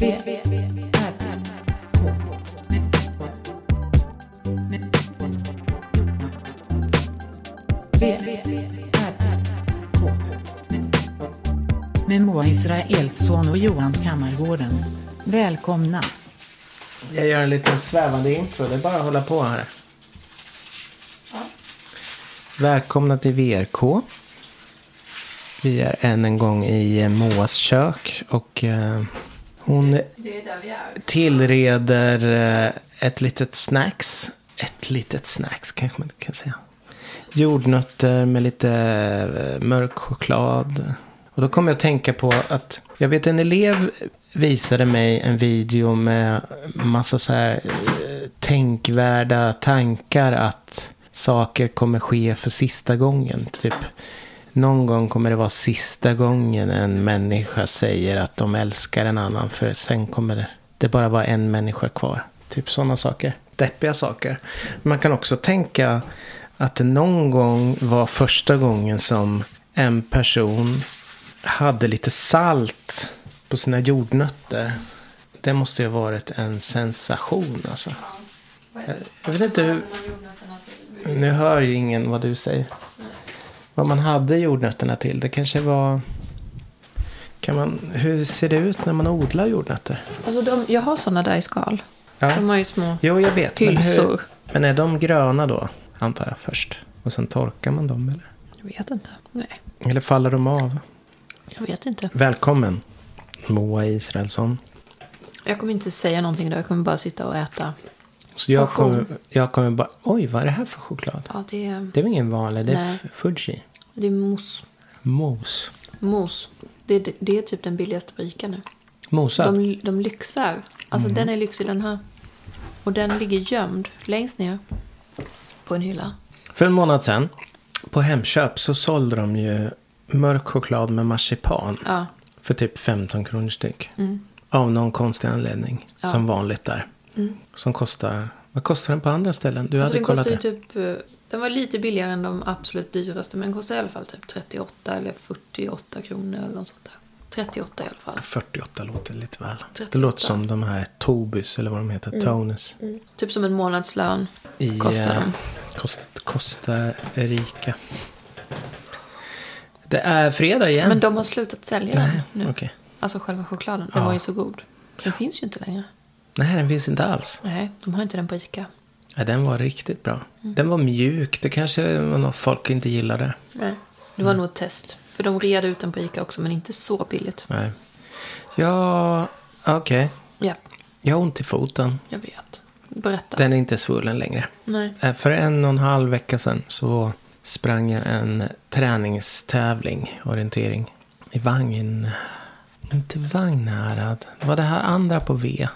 V, V, V, R, R, K, K, V, V, V, R, R, K, K. Med Moa Israelsson och Johan Kammargården. Välkomna. Jag gör en liten svävande intro. Det är bara att hålla på här. Välkomna till VRK. Vi är än en gång i eh, Moas kök och eh, hon Det är där vi är. tillreder eh, ett litet snacks. Ett litet snacks kanske man kan säga. Jordnötter med lite eh, mörk choklad. Och då kom jag att tänka på att jag vet en elev visade mig en video med massa så här eh, tänkvärda tankar att saker kommer ske för sista gången. Typ någon gång kommer det vara sista gången en människa säger att de älskar en annan. För sen kommer det, det bara vara en människa kvar. Typ sådana saker. Deppiga saker. Man kan också tänka att det någon gång var första gången som en person hade lite salt på sina jordnötter. Det måste ju ha varit en sensation alltså. Vad är det? Jag vet inte hur... Man jordnötterna till. Nu hör ju ingen vad du säger. Vad man hade jordnötterna till. Det kanske var... Kan man, hur ser det ut när man odlar jordnötter? Alltså de, jag har såna där i skal. Ja. De har ju små. Jo, jag vet. Men, hur, Hylsor. men är de gröna då? Antar jag först. Och sen torkar man dem eller? Jag vet inte. Nej, Eller faller de av? jag vet inte. Välkommen Moa Israelsson. Jag kommer inte säga någonting idag. Jag kommer bara sitta och äta. Så jag Passion. kommer, jag kommer bara... Oj, vad är det här för choklad? Ja, det är, Det är väl ingen vanlig? Det är Nej. f- Fuji. det är mos. Mos. Mos. Det, det, det är typ den billigaste på Ica nu. Mosad? De, de lyxar. Alltså Mhm. den är lyxig den här. Och den ligger gömd längst ner. På en hylla. För en månad sedan på Hemköp så sålde de ju mörk choklad med marsipan. Ja. För typ 15 kronor styck. Mm. Av någon konstig anledning. Som vanligt där. Som kostar, vad kostar den på andra ställen? Du Mm. Alltså hade den kollat kostar ju det. typ... eh, Den var lite billigare än de absolut dyraste. Men den kostar i alla fall typ 38 eller 48 kronor eller något sånt där. 38 i alla fall. 48 låter lite väl. Det 38. låter som de här Tobys eller vad de heter. Tonys. Typ som en månadslön. I, Mm. Kostar eh, de. Kost, Costa Rica. Det är fredag igen. Men de har slutat sälja Nej, den nu. okej. Alltså själva chokladen. Den Ja. var ju så god. Den finns ju inte längre. Nej, den finns inte alls. Nej, de har inte den på Ica. Ja, den var riktigt bra. Mm. Den var mjuk. Det kanske var något folk inte gillade. Nej. Det Mm. var nog ett test. För de red ut den på Ica också, men inte så billigt. Nej. Ja, okej. Ja, Jag har ont i foten. jag vet. Berätta. Den är inte svullen längre. Nej. Eh, För en och en halv vecka sedan så sprang jag en träningstävling, orientering, i Vagn... Inte Vagnhärad. Det var det här andra på V.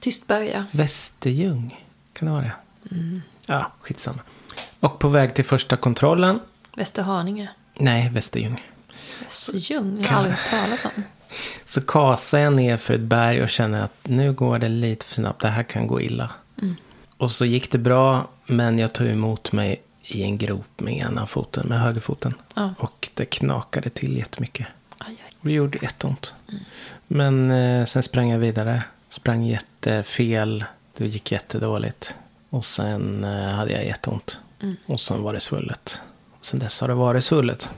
Tystberga. Västerljung. Kan det vara det? Ja, skitsamma. Och på väg till första kontrollen. Västerhaninge. Nej, Västerljung. Västerljung. Jag har aldrig hört talas om. Så kasar jag ner för ett berg och känner att nu går det lite för snabbt. Det här kan gå illa. Mm. Och så gick det bra, men jag tog emot mig i en grop med ena foten, med högerfoten. Ja. Och det knakade till jättemycket. Aj, aj. Och det gjorde jätteont. Mm. Men eh, sen sprang jag vidare. Sprang jättefel. Det gick jättedåligt. Och sen eh, hade jag jätteont. Mm. Och sen var det svullet. Sen dess har det varit svullet.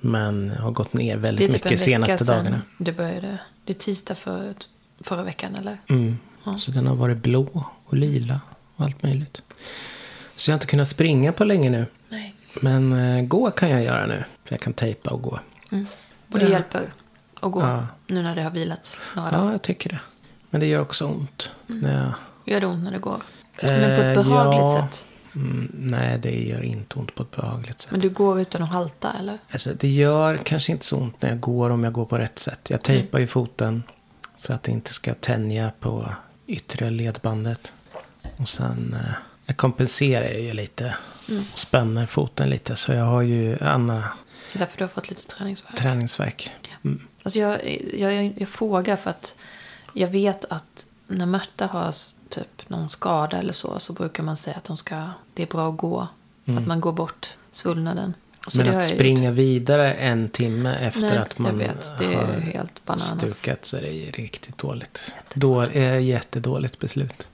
Men har gått ner Det är väldigt typ en mycket vecka senaste sedan dagarna. det började. Det är tisdag för, förra veckan, eller? Mm. Så den har varit blå och lila och allt möjligt. Så jag har inte kunnat springa på länge nu. Nej. Men eh, gå kan jag göra nu. För jag kan tejpa och gå. Och det hjälper att gå. Mm. Ja. Nu när det har vilats några dagar. Ja, jag tycker det. Men det gör också ont. När jag... Gör det ont när det går? Eh, Mm. Men på ett behagligt ja. sätt? Mm, nej, det gör inte ont på ett behagligt sätt. Men du går utan att halta eller? Alltså, det gör kanske inte så ont när jag går om jag går på rätt sätt. Mm. Jag tejpar ju foten så att det inte ska tänja på yttre ledbandet. Och sen eh, jag kompenserar jag ju lite Mm. och spänner foten lite. Så jag har ju andra Det är därför du har fått lite träningsvärk. träningsverk. Alltså jag, jag, jag, jag frågar för att jag vet att när Märta har s- typ någon skada eller så så brukar man säga att de ska, det är bra att gå. Att man går bort svullnaden. Så Mm. Men det har att jag gjort. springa vidare en timme efter Nej, att man jag vet. Det är har helt bananas. stukat så är det ju riktigt dåligt. Då, eh, jättedåligt beslut.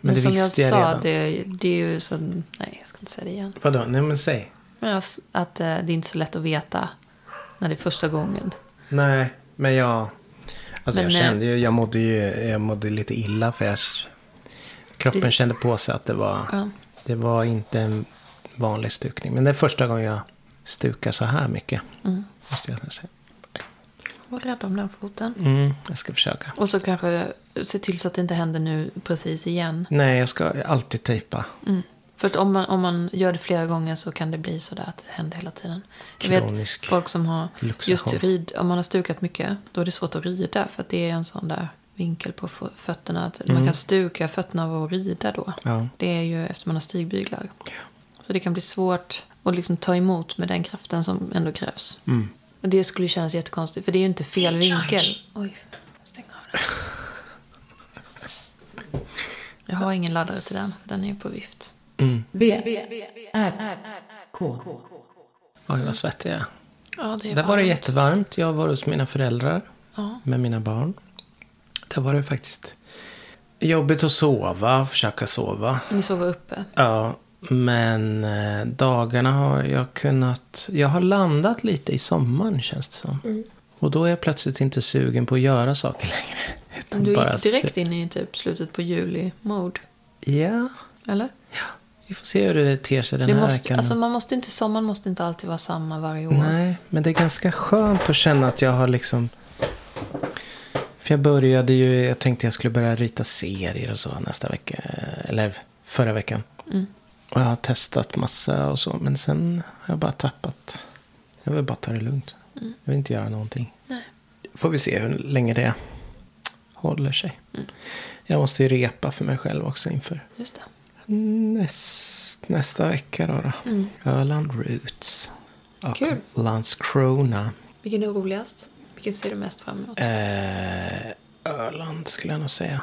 Men, Men det som jag visste jag, sa, redan. det, det är ju så... Nej, jag ska inte säga det igen. Vadå? Nej men säg. Men alltså, att eh, det är inte så lätt att veta när det är första gången. Nej, men jag... Alltså Men, jag eh, kände ju, jag mådde ju, jag mådde lite illa för jag... Kroppen Det- kände på sig att det var, Ja. det var inte en vanlig stukning. Men det är första gången jag stukar så här mycket. Mm. Måste jag säga. Var rädd om den foten. Mm, jag ska försöka. Och så kanske se till så att det inte händer nu precis igen. Nej, jag ska alltid tejpa. Mm. För att om man, om man gör det flera gånger så kan det bli sådär att det händer hela tiden. Jag vet Kronisk folk som har, just luxation. rid, om man har stukat mycket, då är det svårt att rida. För att det är en sån där vinkel på fo- fötterna. Att Man kan stuka fötterna av att rida då. Mm. Ja. Det är ju efter man har stigbyglar. Så det kan bli svårt att liksom ta emot med den kraften som ändå krävs. Mm. Och det skulle ju kännas jättekonstigt, för det är ju inte fel vinkel. Oj, stäng av den. Jag har ingen laddare till den, för den är ju på vift. V, R, K. Oj, vad svettig jag är. Ja, det är Där var det varmt. jättevarmt. Jag var hos mina föräldrar Ja. med mina barn. Där var det faktiskt jobbigt att sova, försöka sova. Ni sover uppe. Ja, men eh, dagarna har jag kunnat... Jag har landat lite i sommaren känns det som. Mm. Och då är jag plötsligt inte sugen på att göra saker längre. Utan Du bara gick direkt in i typ slutet på juli-mode, Ja, eller? vi får se hur det ter sig den Det här måste, veckan. alltså man måste inte, sommaren måste inte alltid vara samma varje år. Nej, men det är ganska skönt att känna att jag har liksom... För jag började ju, jag tänkte jag skulle börja rita serier och så nästa vecka. Eller förra veckan. Mm. Och jag har testat massa och så. Men sen har jag bara tappat. Jag vill bara ta det lugnt. Mm. Jag vill inte göra någonting. Nej. Får vi se hur länge det håller sig. Mm. Jag måste ju repa för mig själv också inför Just det. Näst, nästa vecka då. då. Öland Roots. Och Mm. Kul. Landskrona. Vilken är roligast? Vilken ser du mest fram emot? Eh, Öland skulle jag nog säga.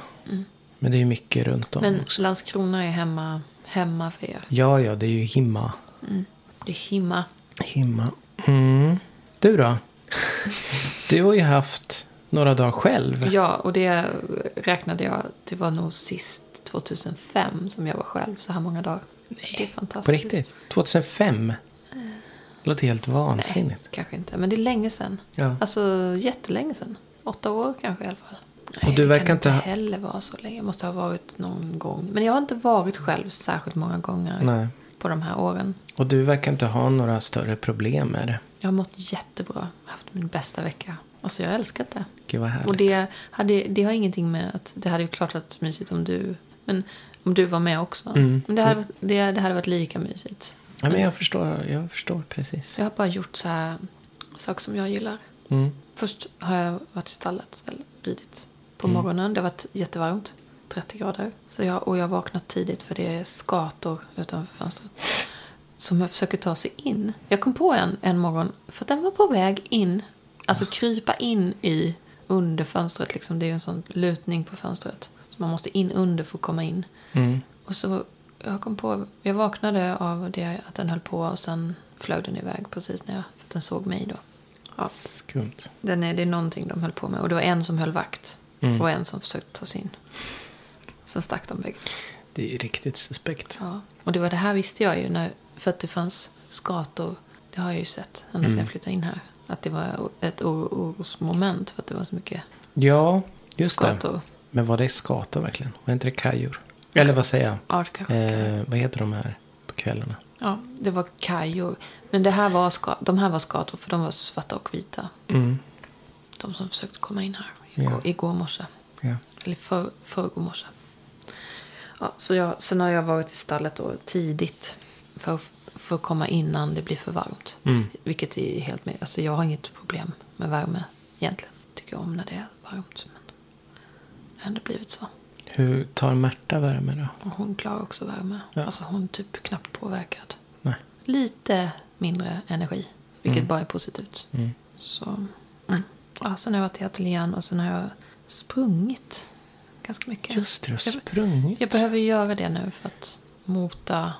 Men det är ju mycket runt om Mm. Men också. Landskrona är hemma, hemma för er. Mm. Ja, ja, det är ju himma. Det är himma. Himma. Mm. Du då? du har ju haft några dagar själv. Ja, och det räknade jag. Det var nog sist 2005 som jag var själv så här många dagar. Så det är fantastiskt. På riktigt? 2005? Det låter helt Nej, vansinnigt. kanske inte. Men det är länge sedan. Ja. Alltså jättelänge sedan. Åtta år kanske i alla fall. Nej, du det verkar kan inte inte ha- heller vara så länge. Jag måste ha varit någon gång. Men jag har inte varit själv särskilt många gånger Nej. på de här åren. Och du verkar inte ha några större problem med det. Jag har mått jättebra. Haft min bästa vecka. Alltså jag har älskat det. Gud vad härligt. Och det, hade, det har ingenting med att det hade ju klart varit mysigt om du, men, om du var med också. Mm. Men det hade, varit- det, det hade varit lika mysigt. Ja, men jag förstår, jag förstår precis. Jag har bara gjort så här saker som jag gillar. Mm. Först har jag varit i stallet, eller ridit, på morgonen. Det har varit jättevarmt, 30 grader. Så jag, och jag har vaknat tidigt för det är skator utanför fönstret. Som jag försöker ta sig in. Jag kom på en en morgon, för att den var på väg in. Alltså krypa in i under fönstret. Liksom. Det är ju en sån lutning på fönstret. Så man måste in under för att komma in. mm. Och så jag kom på, jag vaknade av det att den höll på och sen flög den iväg precis när jag, för att den såg mig då. Ja. Skumt. Den är, det är någonting de höll på med. Och det var en som höll vakt. Mm. Och en som försökte ta sig in. Sen stack de bägge. Det är riktigt suspekt. Ja. Och det var det här visste jag ju. När, för att det fanns skator. Det har jag ju sett. Ända sedan Mm. jag flyttade in här. Att det var o- ett o- orosmoment. För att det var så mycket Ja, just det. Skator. Men var det skator verkligen? Var inte det kajor? Eller vad säger jag? art kanske. Eh, vad heter de här på kvällarna? Ja, det var kajor. Men det här var ska, de här var skator. För de var svarta och vita. De som försökte komma in här. Igår, Ja. igår morse. Ja. Eller för, förrgår morse. Ja, så jag, sen har jag varit i stallet då tidigt. För att, för att komma innan det blir för varmt. Mm. Vilket är helt med. Alltså jag har inget problem med värme egentligen. Tycker jag om när det är varmt. Men det har ändå blivit så. Hur tar Märta värme då? Och hon klarar också värme. Ja. Alltså hon är typ knappt påverkad. Nej. Lite mindre energi. Vilket Mm. bara är positivt. Så, mm. ja, sen har jag varit i ateljén och sen har jag sprungit. Ganska mycket. Just det, du har Jag- sprungit. jag behöver ju göra det nu för att mota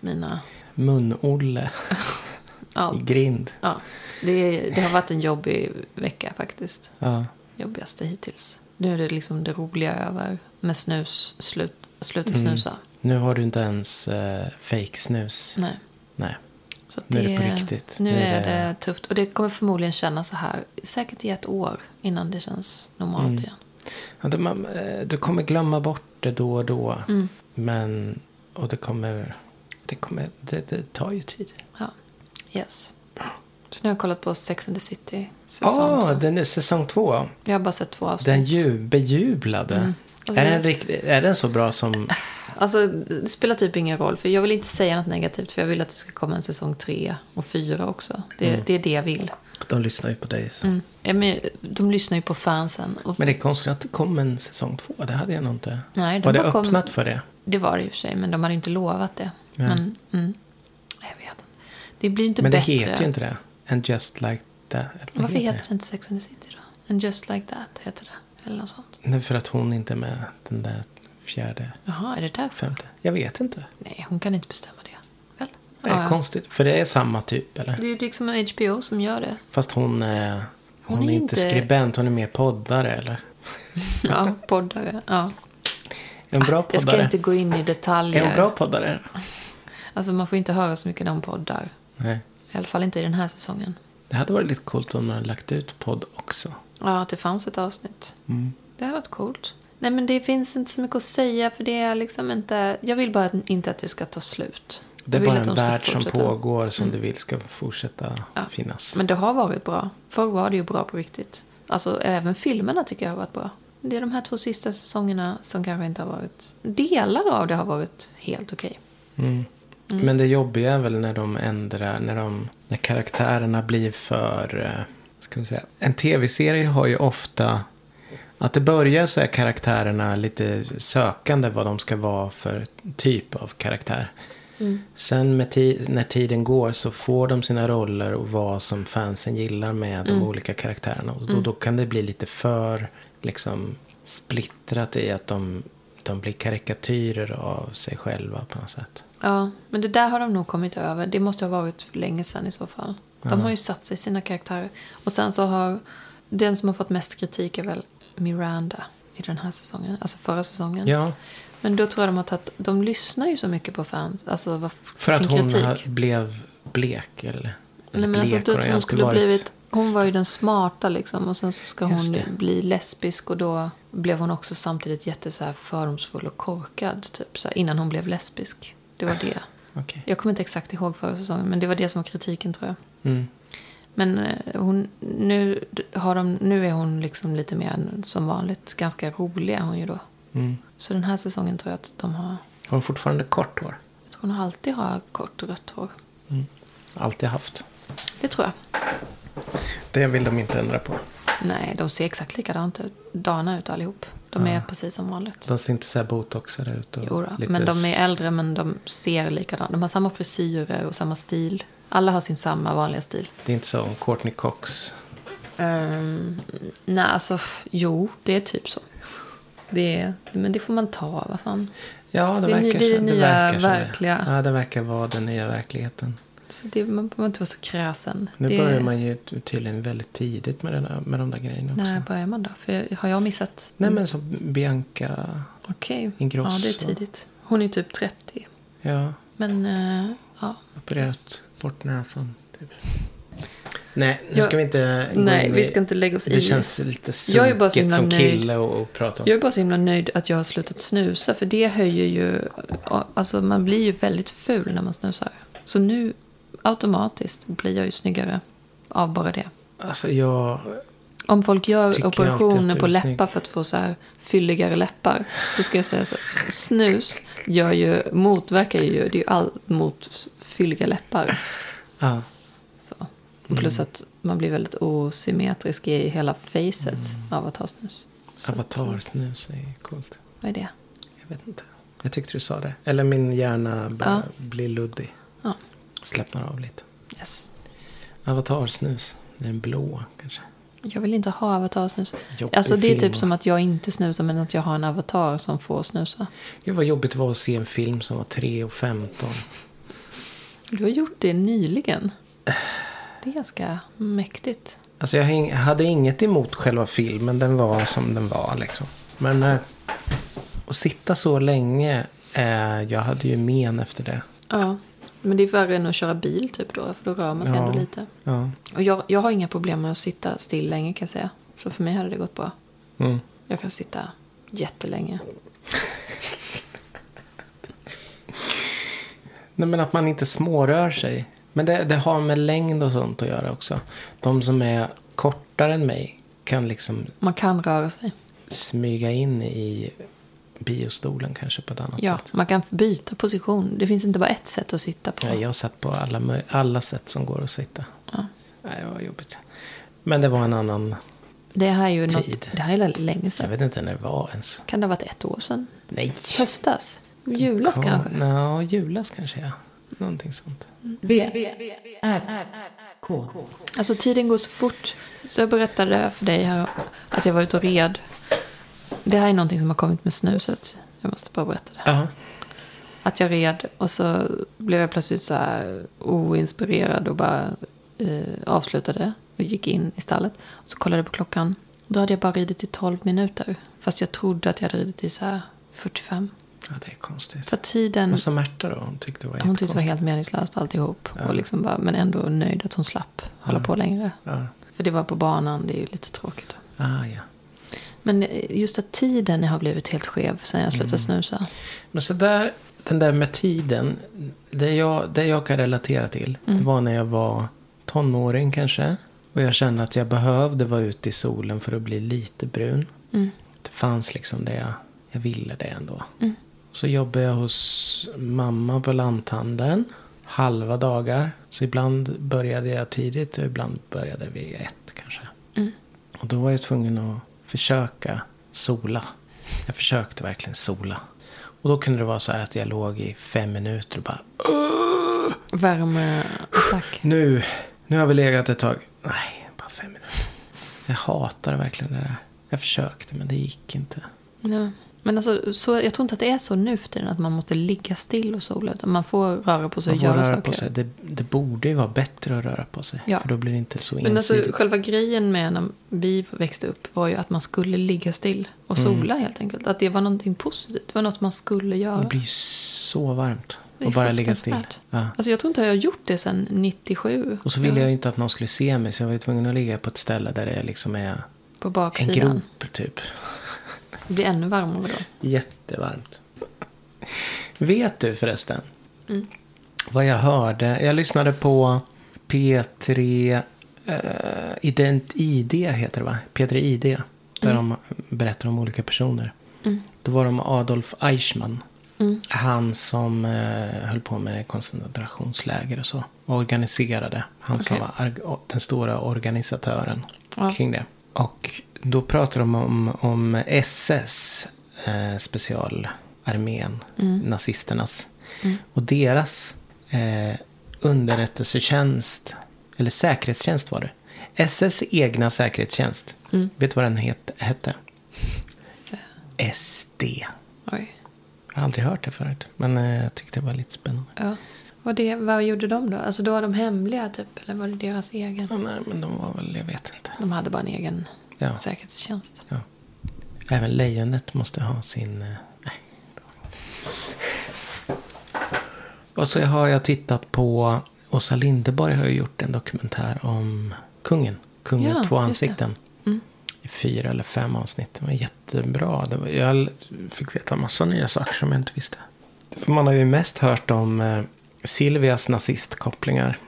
mina Mun-Olle i Allt. grind. Ja, det, det har varit en jobbig vecka faktiskt. Ja. Jobbigaste hittills. Nu är det liksom det roliga över med snus, slut, sluta Mm. snusa. Nu har du inte ens eh, fake snus. Nej. Nej. Så att Nu är det på riktigt. Nu är det tufft. Och det kommer förmodligen kännas så här säkert i ett år innan det känns normalt Mm. igen. Ja, du, man, eh, du kommer glömma bort det då och då. Mm. Men, och det kommer, det kommer, det, det tar ju tid. Ja, yes. Så nu har jag kollat på Sex and the City säsong Ja, två. den är säsong två. Jag har bara sett två avsnitt. Ah, Den ju, bejublade. Alltså, är, den rikt, är den så bra som... Alltså, det spelar typ ingen roll. För jag vill inte säga något negativt. För jag vill att det ska komma en säsong tre och fyra också. Det, Mm. det är det jag vill. De lyssnar ju på dig. så. Mm. Ja, men de lyssnar ju på fansen. Och Men det är konstigt att det kom en säsong två. Det hade jag nog inte. Nej, de Var det bara kom- öppnat för det? Det var det i och för sig. Men de hade inte lovat det. Nej. Men, mm, jag vet inte. Det blir inte Men det bättre. heter ju inte Mm. det. And just like that. Eller vad Varför heter det inte Sex and the City då? And just like that heter det. Eller något sånt. Nej, för att hon inte är med den där fjärde, Jaha, är det därför? femte. Jag vet inte. Nej, hon kan inte bestämma det. Väl? Det är konstigt. För det är samma typ, eller? Det är ju liksom HBO som gör det. Fast hon, eh, hon, Hon är är inte inte- skribent, hon är mer poddare, eller? Ja, poddare. Ja. En bra Jag Ah, ska poddare. inte gå in i Är hon detaljer. bra poddare? Alltså man får inte höra så mycket om poddar. Nej. I alla fall inte i den här säsongen. Det hade varit lite coolt om hon hade lagt ut podd också. Ja, att det fanns ett avsnitt. Mm. Det har varit coolt. Nej, men det finns inte så mycket att säga för det är liksom inte... Jag vill bara inte att det ska ta slut. Det Jag är vill bara att en de ska värld som fortsätta. Mm. pågår som du vill ska fortsätta finnas. Men det har varit bra. Förr var det ju bra på riktigt. Alltså även filmerna tycker jag har varit bra. Det är de här två sista säsongerna som kanske inte har varit... Delar av det har varit helt okej. Mm. Men det jobbiga är väl när de ändrar, när, de, när karaktärerna blir för, eh, ska vi säga, en tv-serie har ju ofta, att det börjar så är karaktärerna lite sökande vad de ska vara för typ av karaktär. Sen med ti- när tiden går så får de sina roller och vad som fansen gillar med de olika karaktärerna. Och då, då kan det bli lite för liksom, splittrat i att de, de blir karikatyrer av sig själva på något sätt. Ja, men det där har de nog kommit över. Det måste ha varit för länge sedan i så fall. De har ju satt sig i sina karaktärer. Och sen så har den som har fått mest kritik är väl Miranda i den här säsongen. Alltså förra säsongen. Ja, Men då tror jag de har tagit, de lyssnar ju så mycket på fans, alltså vad, för att sin hon kritik. ha- blev blek eller Nej men alltså blek att hon, har hon alltid skulle varit. blivit, hon var ju den smarta liksom och sen så ska Just hon det. bli lesbisk och då blev hon också samtidigt jätte så här fördomsfull och korkad typ så här, innan hon blev lesbisk. Det var det. Okej. Jag kommer inte exakt ihåg förra säsongen men det var det som var kritiken tror jag. Mm. Men eh, hon, nu, d- har de, nu är hon liksom lite mer än som vanligt ganska rolig är hon ju då. Mm. Så den här säsongen tror jag att de har, Har hon fortfarande kort hår? jag tror hon alltid har kort rött hår. Alltid haft. Det tror jag. Det vill de inte ändra på. Nej, de ser exakt likadant ut. Dana ut allihop. De är precis som vanligt. De ser inte så här botoxade ut. Och Jo då. lite Men de s- är äldre men de ser likadant. De har samma frisyrer och samma stil. Alla har sin samma vanliga stil. Det är inte som Courtney Cox. Ehm, nej, alltså f- jo, det är typ så. Det är, men det får man ta, vad fan. Ja, det, Det är ny- verkar det är så. det nya verkar så. verkliga. Ja, det verkar vara den nya verkligheten. Så det, man behöver inte vara så kräsen. Nu det, börjar man ju ty- tydligen väldigt tidigt med, den där, med de där grejerna också. När Nej. börjar man då? För jag- har jag missat? men som Bianca. Okej. Ingrosso. Ja, det är tidigt. Hon är typ 30. Ja, Men, eh, ja. opererat bort näsan. Typ. Nej, nu Jag- ska vi inte gå Nej, in i- vi ska inte lägga oss i. Det känns lite Jag är bara så sunkigt himla som nöjd. kille och, och prata om. Jag är bara så himla nöjd att jag har slutat snusa för det höjer ju... Alltså man blir ju väldigt ful när man snusar. Så nu automatiskt blir jag ju snyggare av bara det. Alltså jag... Om folk gör Tycker jag alltid operationer att på du är snygg. läppar för att få så här fylligare läppar. Då ska jag säga så. här, Snus gör ju, motverkar ju, det är ju allt mot fylliga läppar. Ja, Så. Mm. Och Plus att man blir väldigt osymmetrisk i hela facet Mm. av att ha snus. Så att- avatarsnus är coolt. Vad är det? Jag vet inte. Jag tyckte du sa det. Eller min hjärna börjar bli luddig. Ja. Slappnar av lite. Yes. Avatarsnus. Den blå kanske. Jag vill inte ha avatarsnus. Jobbig Alltså det är film. typ som att jag inte snusar men att jag har en avatar som får snusa. Gud vad jobbigt det var att se en film som var 3 och 15. Du har gjort det nyligen. Eh. Det är ganska mäktigt. Alltså jag häng- hade inget emot själva filmen, den var som den var liksom. Men eh, att sitta så länge, eh, jag hade ju men efter det. Ja, men det är värre än att köra bil typ då, för då rör man sig Ja. ändå lite. Ja. Och jag, jag har inga problem med att sitta still länge kan jag säga. Så för mig hade det gått bra. Mm. Jag kan sitta jättelänge. Nej, men att man inte smårör sig. Men det, det har med längd och sånt att göra också. De som är kortare än mig kan liksom Man kan röra sig. smyga in i biostolen kanske på ett annat Ja, sätt. man kan byta position. Det finns inte bara ett sätt att sitta på. Ja, jag har satt på alla, mö- alla sätt som går att sitta. Ja. Nej, det var jobbigt. Men det var en annan... Det här är ju Tid. något, det här är länge Jag sedan. vet inte när det var ens. Kan det ha varit ett år sedan? Nej! Höstas? Julas kanske? Ja, julas kanske ja. Någonting sånt. V, V, R, K. Alltså tiden går så fort. Så jag berättade för dig här att jag var ute och red. Det här är någonting som har kommit med snuset. Jag måste bara berätta det. Ja. Att jag red och så blev jag plötsligt så här oinspirerad och bara eh, avslutade och gick in i stallet. Och så kollade jag på klockan. Då hade jag bara ridit i 12 minuter. Fast jag trodde att jag hade ridit i så här 45. ja, det är konstigt. För tiden Och så Märta då, hon tyckte det var Hon tyckte det var jättekonstigt. helt meningslöst alltihop. Och liksom bara, men ändå nöjd att hon slapp hålla Mm. på längre. Ja. För det var på banan, det är ju lite tråkigt. Ah, ja. Men eh, just att tiden har blivit helt skev sen jag Mm. slutade snusa. Men så där, den där med tiden. Det jag, det jag kan relatera till. Det Mm. var när jag var tonåring kanske. Och jag kände att jag behövde vara ute i solen för att bli lite brun. Mm. Det fanns liksom det jag, jag ville det ändå. Så jobbade jag hos mamma på lanthandeln. Halva dagar. Så ibland började jag tidigt och ibland började vi ett kanske. Och då var jag tvungen att försöka sola. Jag försökte verkligen sola. Och då kunde det vara så här att jag låg i fem minuter och bara Värmeattack. nu, nu har vi legat ett tag. Nej, bara fem minuter. Jag hatar verkligen det där. Jag försökte men det gick inte. Ja. Men alltså, så, jag tror inte att det är så nu för tiden att man måste ligga still och sola. Utan man får röra på sig Man och får göra röra saker. på sig. Det, det borde ju vara bättre att röra på sig. Ja. För då blir det inte så Men alltså, ensidigt. själva grejen med när vi växte upp var ju att man skulle ligga still och Mm. sola helt enkelt. Att det var någonting positivt. Det var något man skulle göra. Det blir ju så varmt. Det är Och bara ligga still. fruktansvärt. Ja. Alltså jag tror inte jag har gjort det sedan 97. Och så ville jag ju inte att någon skulle se mig så jag var ju tvungen att ligga på ett ställe där det liksom är På en baksidan. grop typ. Det blir ännu varmare då. Jättevarmt. Vet du förresten? Vad jag hörde? Jag lyssnade på P3 eh, Ident ID heter det va? P3 ID. Där de berättar om olika personer. Då var de Adolf Eichmann. Han som eh, höll på med koncentrationsläger och så. Och organiserade. Han som var Okej. arg- den stora organisatören Ja. kring det. Och då pratar de om, om SS, eh, specialarmén, nazisternas. Och deras eh, underrättelsetjänst, eller säkerhetstjänst var det. SS egna säkerhetstjänst. Vet du vad den het, hette? Så, SD. Jag oj. har aldrig hört det förut, men eh, jag tyckte det var lite spännande. Ja. Och det, vad gjorde de då? Alltså då var de hemliga typ? Eller var det deras egen? Ja, nej, men de var väl, jag vet inte. De hade bara en egen Ja. säkerhetstjänst. Ja. Även lejonet måste ha sin... eh, Nej. Och så har jag tittat på... Åsa Linderborg har ju gjort en dokumentär om kungen. Kungens Ja, två just det. ansikten. I fyra eller fem avsnitt. Det var jättebra. Det var, jag l- fick veta massa nya saker som jag inte visste. För man har ju mest hört om eh, Silvias nazistkopplingar.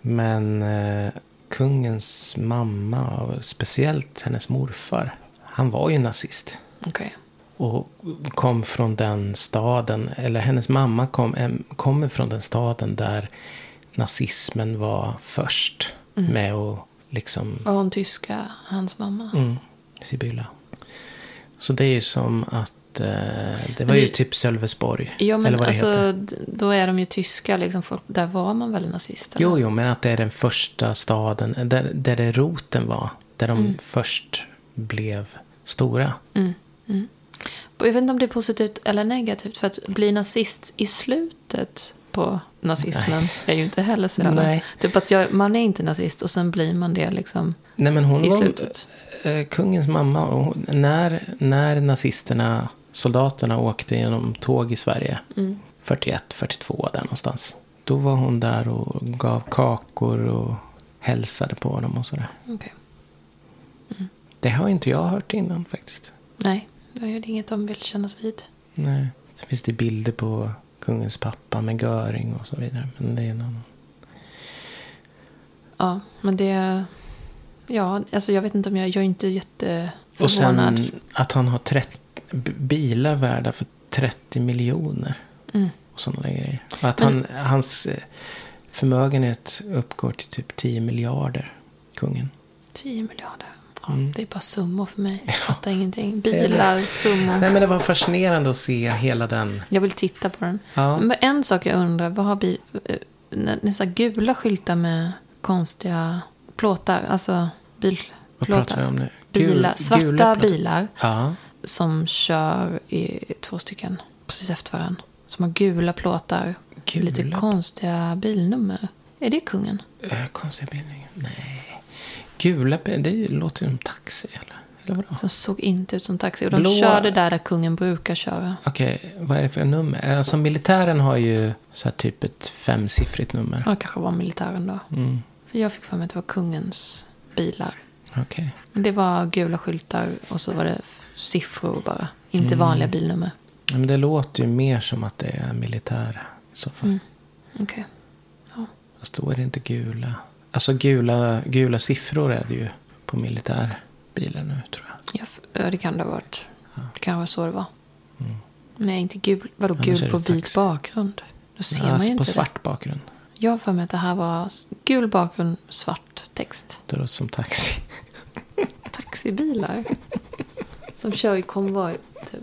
Men eh, kungens mamma, och speciellt hennes morfar, han var ju nazist. Okej. Och kom från den staden, eller hennes mamma kom, em, kommer från den staden där nazismen var först. Med att liksom, Var hon tyska, hans mamma? mm, Sibylla. Så det är ju som att, eh, det var det- ju typ Sölvesborg. Ja eller men vad det heter. alltså d- då är de ju tyska liksom. Folk, där var man väl nazist? eller? Jo, jo, men att det är den första staden, där, där det roten var. Där de Mm. först blev stora. Och Jag vet inte om det är positivt eller negativt. För att bli nazist i slutet på på nazismen Nej. är ju inte heller så jävla... Nej. Typ att jag, man är inte nazist och sen blir man det liksom Nej, men hon i var slutet. eh, kungens mamma. Och hon, när, när nazisterna, soldaterna åkte genom tåg i Sverige, Mm. 41, 42 där någonstans. Då var hon där och gav kakor och hälsade på dem och sådär. Okej. Det har inte jag hört innan faktiskt. Nej, jag gör inget de vill kännas vid. Nej. Så finns det bilder på kungens pappa med Göring och så vidare. Men det är en annan. Ja, men det... Ja, alltså jag vet inte om jag... Jag är inte jätteförvånad. Och sen att han har trett, b- bilar värda för 30 miljoner. Mm. Och sådana där grejer. Och att Men- han, hans eh, förmögenhet uppgår till typ 10 miljarder. Kungen. 10 miljarder. Ja, Mm. Det är bara summor för mig. Jag fattar ingenting. Bilar, summor. Nej men det var fascinerande att se hela den. Jag vill titta på den. Ja. Men en sak jag undrar, vad har bil... eh, När, när så här gula skyltar med konstiga plåtar, alltså Vad pratar vi om bilplåtar. nu? Gul- Bilar, svarta gula plåtar. bilar Ja. som kör i två stycken precis efter varandra. Som har gula plåtar, Gula lite plåtar. konstiga bilnummer. Är det kungen? Äh, konstiga bildningar. Nej. Gula bi- det låter ju som taxi eller? Eller vadå? Som såg inte ut som taxi. Och de Blå- körde där där kungen brukar köra. Okej, vad är det för nummer? Alltså militären har ju så här typ ett femsiffrigt nummer. Ja, Det kanske var militären då. Mm. För jag fick för mig att det var kungens bilar. Okej. Men Det var gula skyltar och så var det f- siffror bara. Inte Mm. vanliga bilnummer. Ja, Men det låter ju mer som att det är militär i så fall. Mm. Okej. Fast då är det inte gula. Alltså gula, gula siffror är det ju på militärbilar nu tror jag. Ja, f- ja, det kan det ha varit. Det kan vara så det var. Mm. Nej, inte gul. Vadå Annars är gul det på vit taxi. bakgrund? Då ser Ja, man ju Alltså, på inte det. svart bakgrund. Jag har för mig att det här var s- gul bakgrund, svart text. Det låter som taxi. Taxibilar. som kör i konvoj. Typ.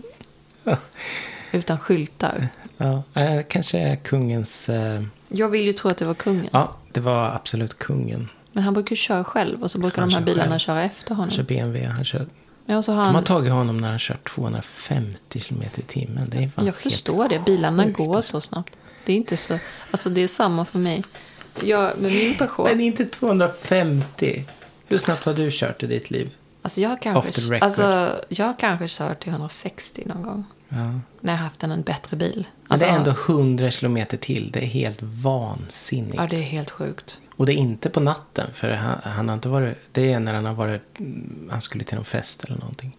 Utan skyltar. Ja, eh, kanske är kungens... Eh, Jag vill ju tro att det var kungen. ja, det var absolut kungen. Men han brukar ju köra själv och så brukar Han de här kör bilarna själv. köra efter Han honom. kör BMW. Han kör, Ja, så har de har han, tagit honom när han kört 250 kilometer i timmen. Det är fan jag helt förstår det, bilarna sjukt, går så snabbt. Det är inte så, alltså det är samma för mig. Jag, med min Men passion, inte 250. Hur snabbt har du kört i ditt liv? alltså jag har Off the kanske, record. alltså jag har kanske kört till 160 någon gång. Ja. När jag haft en, en bättre bil. Men Alltså, det är ändå 100 kilometer till. Det är helt vansinnigt. Ja, det är helt sjukt. Och det är inte på natten. För han, han har inte varit... Det är när han har varit... mm, Han skulle till någon fest eller någonting.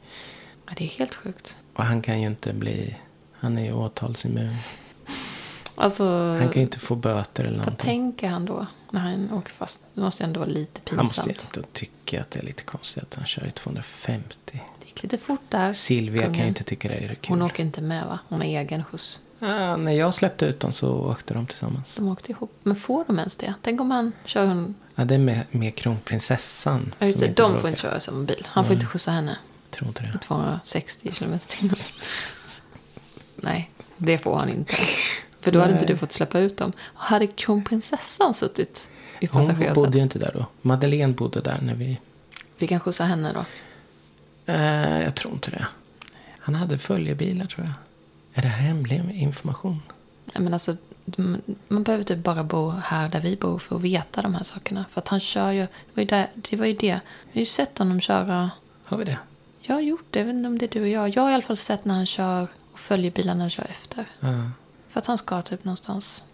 Ja, det är helt sjukt. Och han kan ju inte bli... Han är ju åtalsimmun. Alltså, Han kan ju inte få böter eller vad någonting. tänker han då? När han åker fast. Det måste ändå vara lite Han måste ju pinsamt. ändå tycka att det är lite konstigt att han kör i 250. Det gick lite fort där. Silvia kan Kungen. ju inte tycka det är kul. Hon åker inte med va? Hon har egen skjuts. ah, när jag släppte ut dem så åkte de tillsammans. De åkte ihop. Men får de ens det? Tänk om han kör hon... Ja, Ah, det är med, med kronprinsessan. Ja, just som det, de bråkar. får inte köra samma bil. Han får inte skjutsa henne Tror inte det. 260 km timmen. Nej, det får han inte. För då hade inte Nej. du fått släppa ut dem. Och hade kronprinsessan suttit i Hon bodde passagerarsätet? ju inte där då. Madeleine bodde där när vi... Vi kan skjutsa henne då. Eh, jag tror inte det. Han hade följebilar tror jag. Är det här hemlig information? Nej, men alltså, m- man behöver typ bara bo här där vi bor för att veta de här sakerna. För att han kör ju... Det var ju, där, det, var ju det. Vi har ju sett honom köra... Har vi det? Jag har gjort det, jag vet inte om det är du och jag. Jag har i alla fall sett när han kör och följer bilarna och kör efter. Ja. För att han ska typ någonstans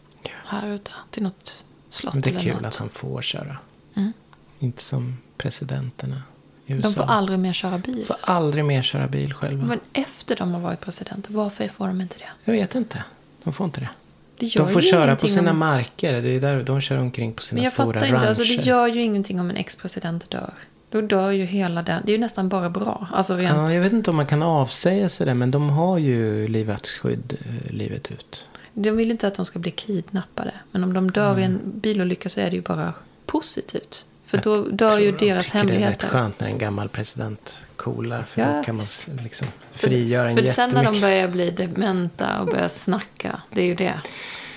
här ute till något slott Men det är eller kul något. att han får köra. Mm. Inte som presidenterna i USA. De får aldrig mer köra bil. får aldrig mer köra bil själva. Men efter de har varit presidenter, varför får de inte det? Jag vet inte. De får inte det. Det gör de får ju köra på ingenting sina om... marker. Det är där de kör omkring på sina Men jag stora fattar inte, rancher. alltså, det gör ju ingenting om en ex-president dör. Då dör ju hela den, det är ju nästan bara bra. Alltså rent... Ja, jag vet inte om man kan avsäga sig det, men de har ju livets skydd eh, livet ut. De vill inte att de ska bli kidnappade. Men om de dör i en bilolycka så är det ju bara positivt. För Mm. Jag då dör tror ju de deras tycker Det är hemligheter. rätt skönt när en gammal president coolar, för Ja. då kan man s- liksom frigöra en För sen när de jättemycket. börjar bli dementa och börjar snacka, det är ju det.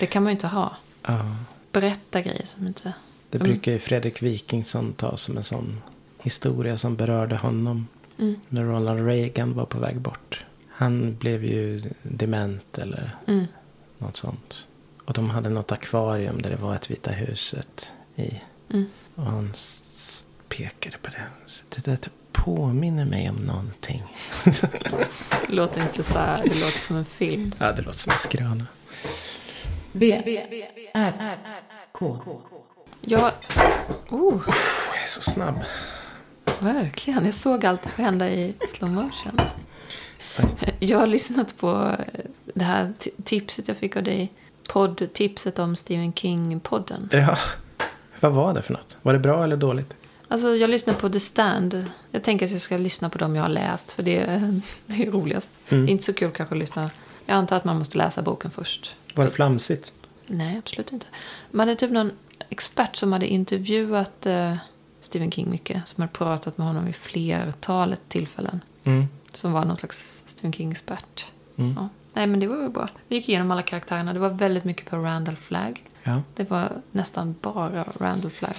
Det kan man ju inte ha. Ja, Berätta grejer som inte... det Mm. brukar ju Fredrik Wikingsson ta som en sån historia som berörde honom. Mm. När Ronald Reagan var på Mm. väg bort. Han blev ju dement eller något sånt. Och de hade något akvarium där det var ett Vita huset i. Och han s- pekade på det. Så det där påminner mig om någonting. Det låter inte så här, det låter som en film. ja, det låter som en skröna. B B- R R K Jag, oh, Jag är så snabb. verkligen. Jag såg allt hända i slow motion. Oj. Jag har lyssnat på det här t- tipset jag fick av dig. Poddtipset om Stephen King-podden. Ja, vad var det för något? Var det bra eller dåligt? Alltså jag lyssnar på The Stand. Jag tänker att jag ska lyssna på dem jag har läst. För det är, det är roligast. Det är inte så kul kanske att lyssna. Jag antar att man måste läsa boken först. Var det flamsigt? Nej, absolut inte. Man hade typ någon expert som hade intervjuat eh, Stephen King mycket. Som hade pratat med honom vid flertalet tillfällen. Mm. Som var någon slags Stephen King-expert. Ja. Nej, men det var väl bra. Vi gick igenom alla karaktärerna. Det var väldigt mycket på Randall Flagg. Ja. Det var nästan bara Randall Flagg.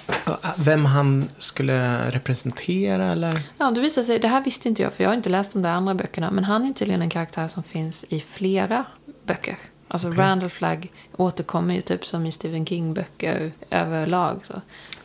Vem han skulle representera eller? Ja, det visar sig, det här visste inte jag för jag har inte läst de där andra böckerna. Men han är tydligen en karaktär som finns i flera böcker. Alltså Randall Flagg återkommer ju typ som i Stephen King-böcker överlag. Så.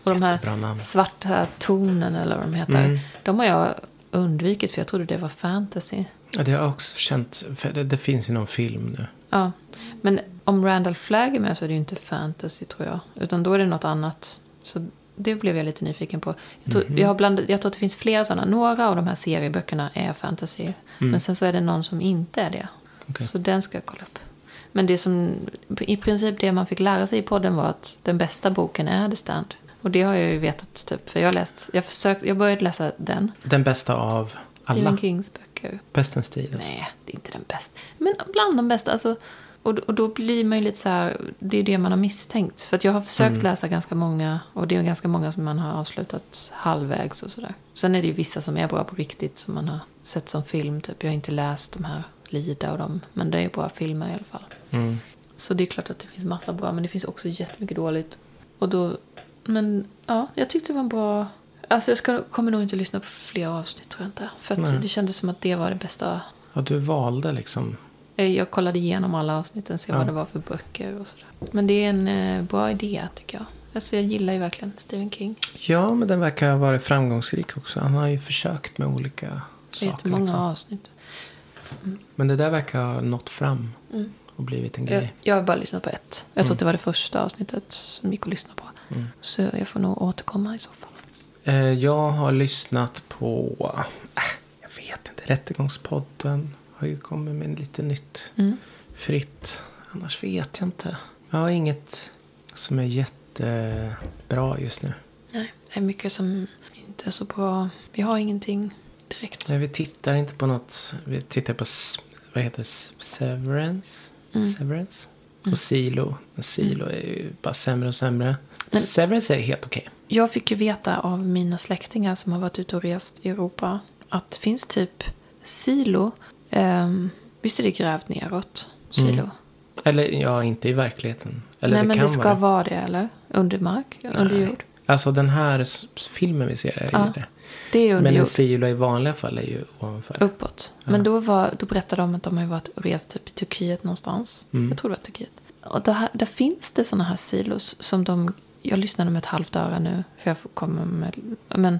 Och de Jättebra här namn. Mm. svarta tonen eller vad de heter. De har jag undvikit för jag trodde det var fantasy. Ja, det har jag också känt. För det, det finns ju någon film nu. Ja, men om Randall Flagg är med så är det ju inte fantasy tror jag. Utan då är det något annat. Så det blev jag lite nyfiken på. Jag Mhm. tror, jag har blandat, jag tror att det finns flera sådana. Några av de här serieböckerna är fantasy. Men sen så är det någon som inte är det. Mm. Okej. Så den ska jag kolla upp. Men det som, i princip det man fick lära sig i podden var att den bästa boken är The Stand. Och det har jag ju vetat typ. För jag har läst, jag försökte, jag började läsa den. Den bästa av alla. Stephen Kings böcker. Pestens tid. Alltså. Nej, det är inte den bästa. Men bland de bästa. Alltså, och, och då blir man ju lite så här, det är det man har misstänkt. För att jag har försökt Mm. läsa ganska många och det är ju ganska många som man har avslutat halvvägs och sådär. Sen är det ju vissa som är bra på riktigt som man har sett som film. Typ. Jag har inte läst de här Lida och dem, men det är bra filmer i alla fall. Mm. Så det är klart att det finns massa bra, men det finns också jättemycket dåligt. Och då, men ja, jag tyckte det var en bra... Alltså jag ska, kommer nog inte lyssna på fler avsnitt tror jag inte. För Nej. att det kändes som att det var det bästa Ja, du valde liksom. Eh, Jag kollade igenom alla avsnitten, se vad det var för böcker och sådär. Men det är en eh, bra idé tycker jag. Alltså jag gillar ju verkligen Stephen King. Ja, men den verkar ha varit framgångsrik också. Han har ju försökt med olika Det är saker. jättemånga liksom. avsnitt. Men det där verkar ha nått fram. Och blivit en Jag, grej. jag har bara lyssnat på ett. Mm. Jag tror att det var det första avsnittet som gick att lyssna på. Så jag får nog återkomma i så fall. Eh, Jag har lyssnat på, äh, jag vet inte, Rättegångspodden har ju kommit med lite nytt Mm. fritt. Annars vet jag inte. Jag har inget som är jättebra just nu. Nej, det är mycket som inte är så bra. Vi har ingenting direkt. Nej, vi tittar inte på något. Vi tittar på, s- vad heter det, S- Severance? Mm. Severance? Och Silo. Men Silo är ju bara sämre och sämre. Severance är helt okej. Jag fick ju veta av mina släktingar som har varit ute och rest i Europa att det finns typ silo. ehm, visst är det grävt neråt? Silo. Mm. Eller ja, inte i verkligheten. Eller Nej, det men kan det ska vara vara. det, eller? Under mark? Under jord? Alltså den här s- filmen vi ser är ju det. Det är under Men en jord. silo i vanliga fall är ju ovanför. Uppåt. Men då, var, då berättade de att de har ju varit och rest typ i Turkiet någonstans. Mm. Jag tror det var Turkiet. Och där, där finns det sådana här silos som de... Jag lyssnade med ett halvt öra nu, för jag får komma med... Men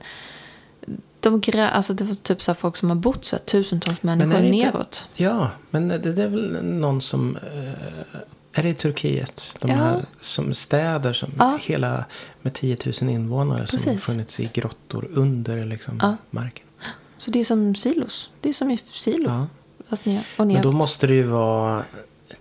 de grä, alltså det var typ så här folk som har bott så här, tusentals människor är det inte- neråt. Ja, men det, det är väl någon som... eh, är det i Turkiet? De Ja. här som städer som hela med 10 000 invånare som har Precis. funnits i grottor under liksom, marken. Så det är som silos. Det är som i silo. Ja. Fast ner, och neråt. Men då måste det ju vara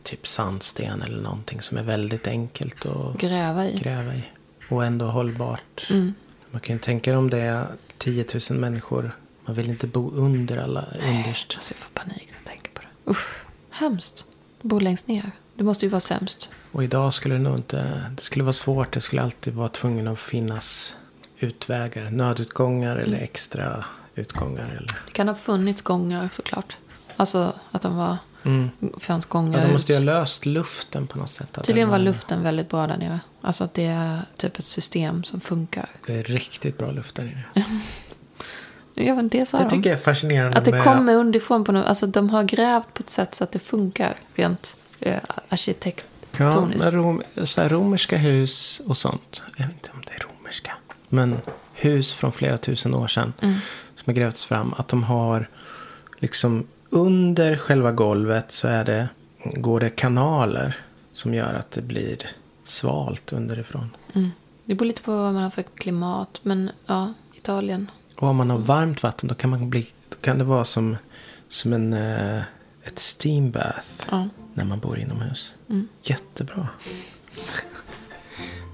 typ sandsten eller någonting som är väldigt enkelt att Gräva i. gräva i. Och ändå hållbart. Mm. Man kan ju tänka om det är 10 000 människor. Man vill inte bo under alla underst. Alltså jag får panik när jag tänker på det. Usch, hemskt. Du bor längst ner. Det måste ju vara sämst. Och idag skulle det nog inte, det skulle vara svårt, det skulle alltid vara tvungen att finnas utvägar, nödutgångar eller Mm. extra utgångar. Eller. Det kan ha funnits gångar såklart. Alltså att de var... fanns gångar Mm. Ja, de måste ju ut. ha löst luften på något sätt. att Tydligen var den luften väldigt bra där nere. Alltså att det är typ ett system som funkar. Det är riktigt bra luft där inne. Jag vet inte, det sa Det de. tycker jag är fascinerande Att det med kommer underifrån på något... Alltså de har grävt på ett sätt så att det funkar. Rent eh, arkitekt... Ja, Tonis. men rom, så här romerska hus och sånt. Jag vet inte om det är romerska. Men hus från flera tusen år sedan. Som har grävts fram. Att de har liksom under själva golvet så är det, går det kanaler. Som gör att det blir svalt underifrån. Mm. Det beror lite på vad man har för klimat. Men ja, Italien. Och om man har varmt vatten då kan, man bli, då kan det vara som, som en, eh, ett steambath. Ja. När man bor inomhus. Jättebra.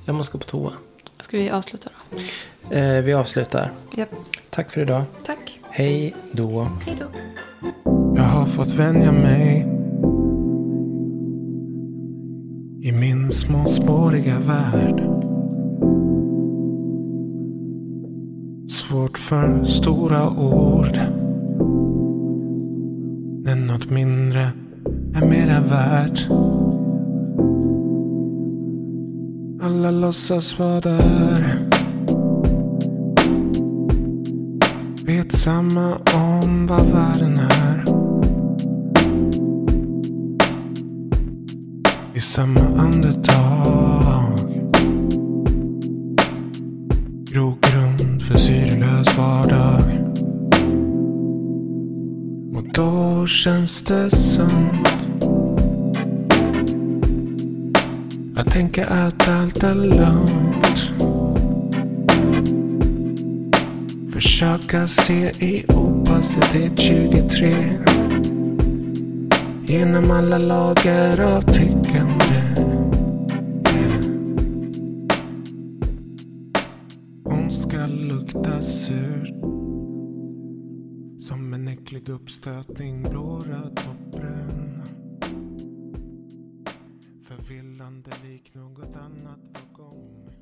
Jag måste gå på toa. Ska vi avsluta då? Eh, vi avslutar. Japp. Tack för idag. Tack. Hej då. Hej då. Jag har fått vänja mig i min småspåriga värld. Svårt för stora ord. När något mindre är mera värt. Alla låtsas vara där. Vet samma om vad världen är. I samma andetag. Grogrund för syrelös vardag. Och då känns det sant. Att tänka att allt är lugnt. Försöka se i opacitet 23 Genom alla lager av tyckande Ondska lukta surt Som en äcklig uppstötning blåröd och brun Förvillande lik något annat bakom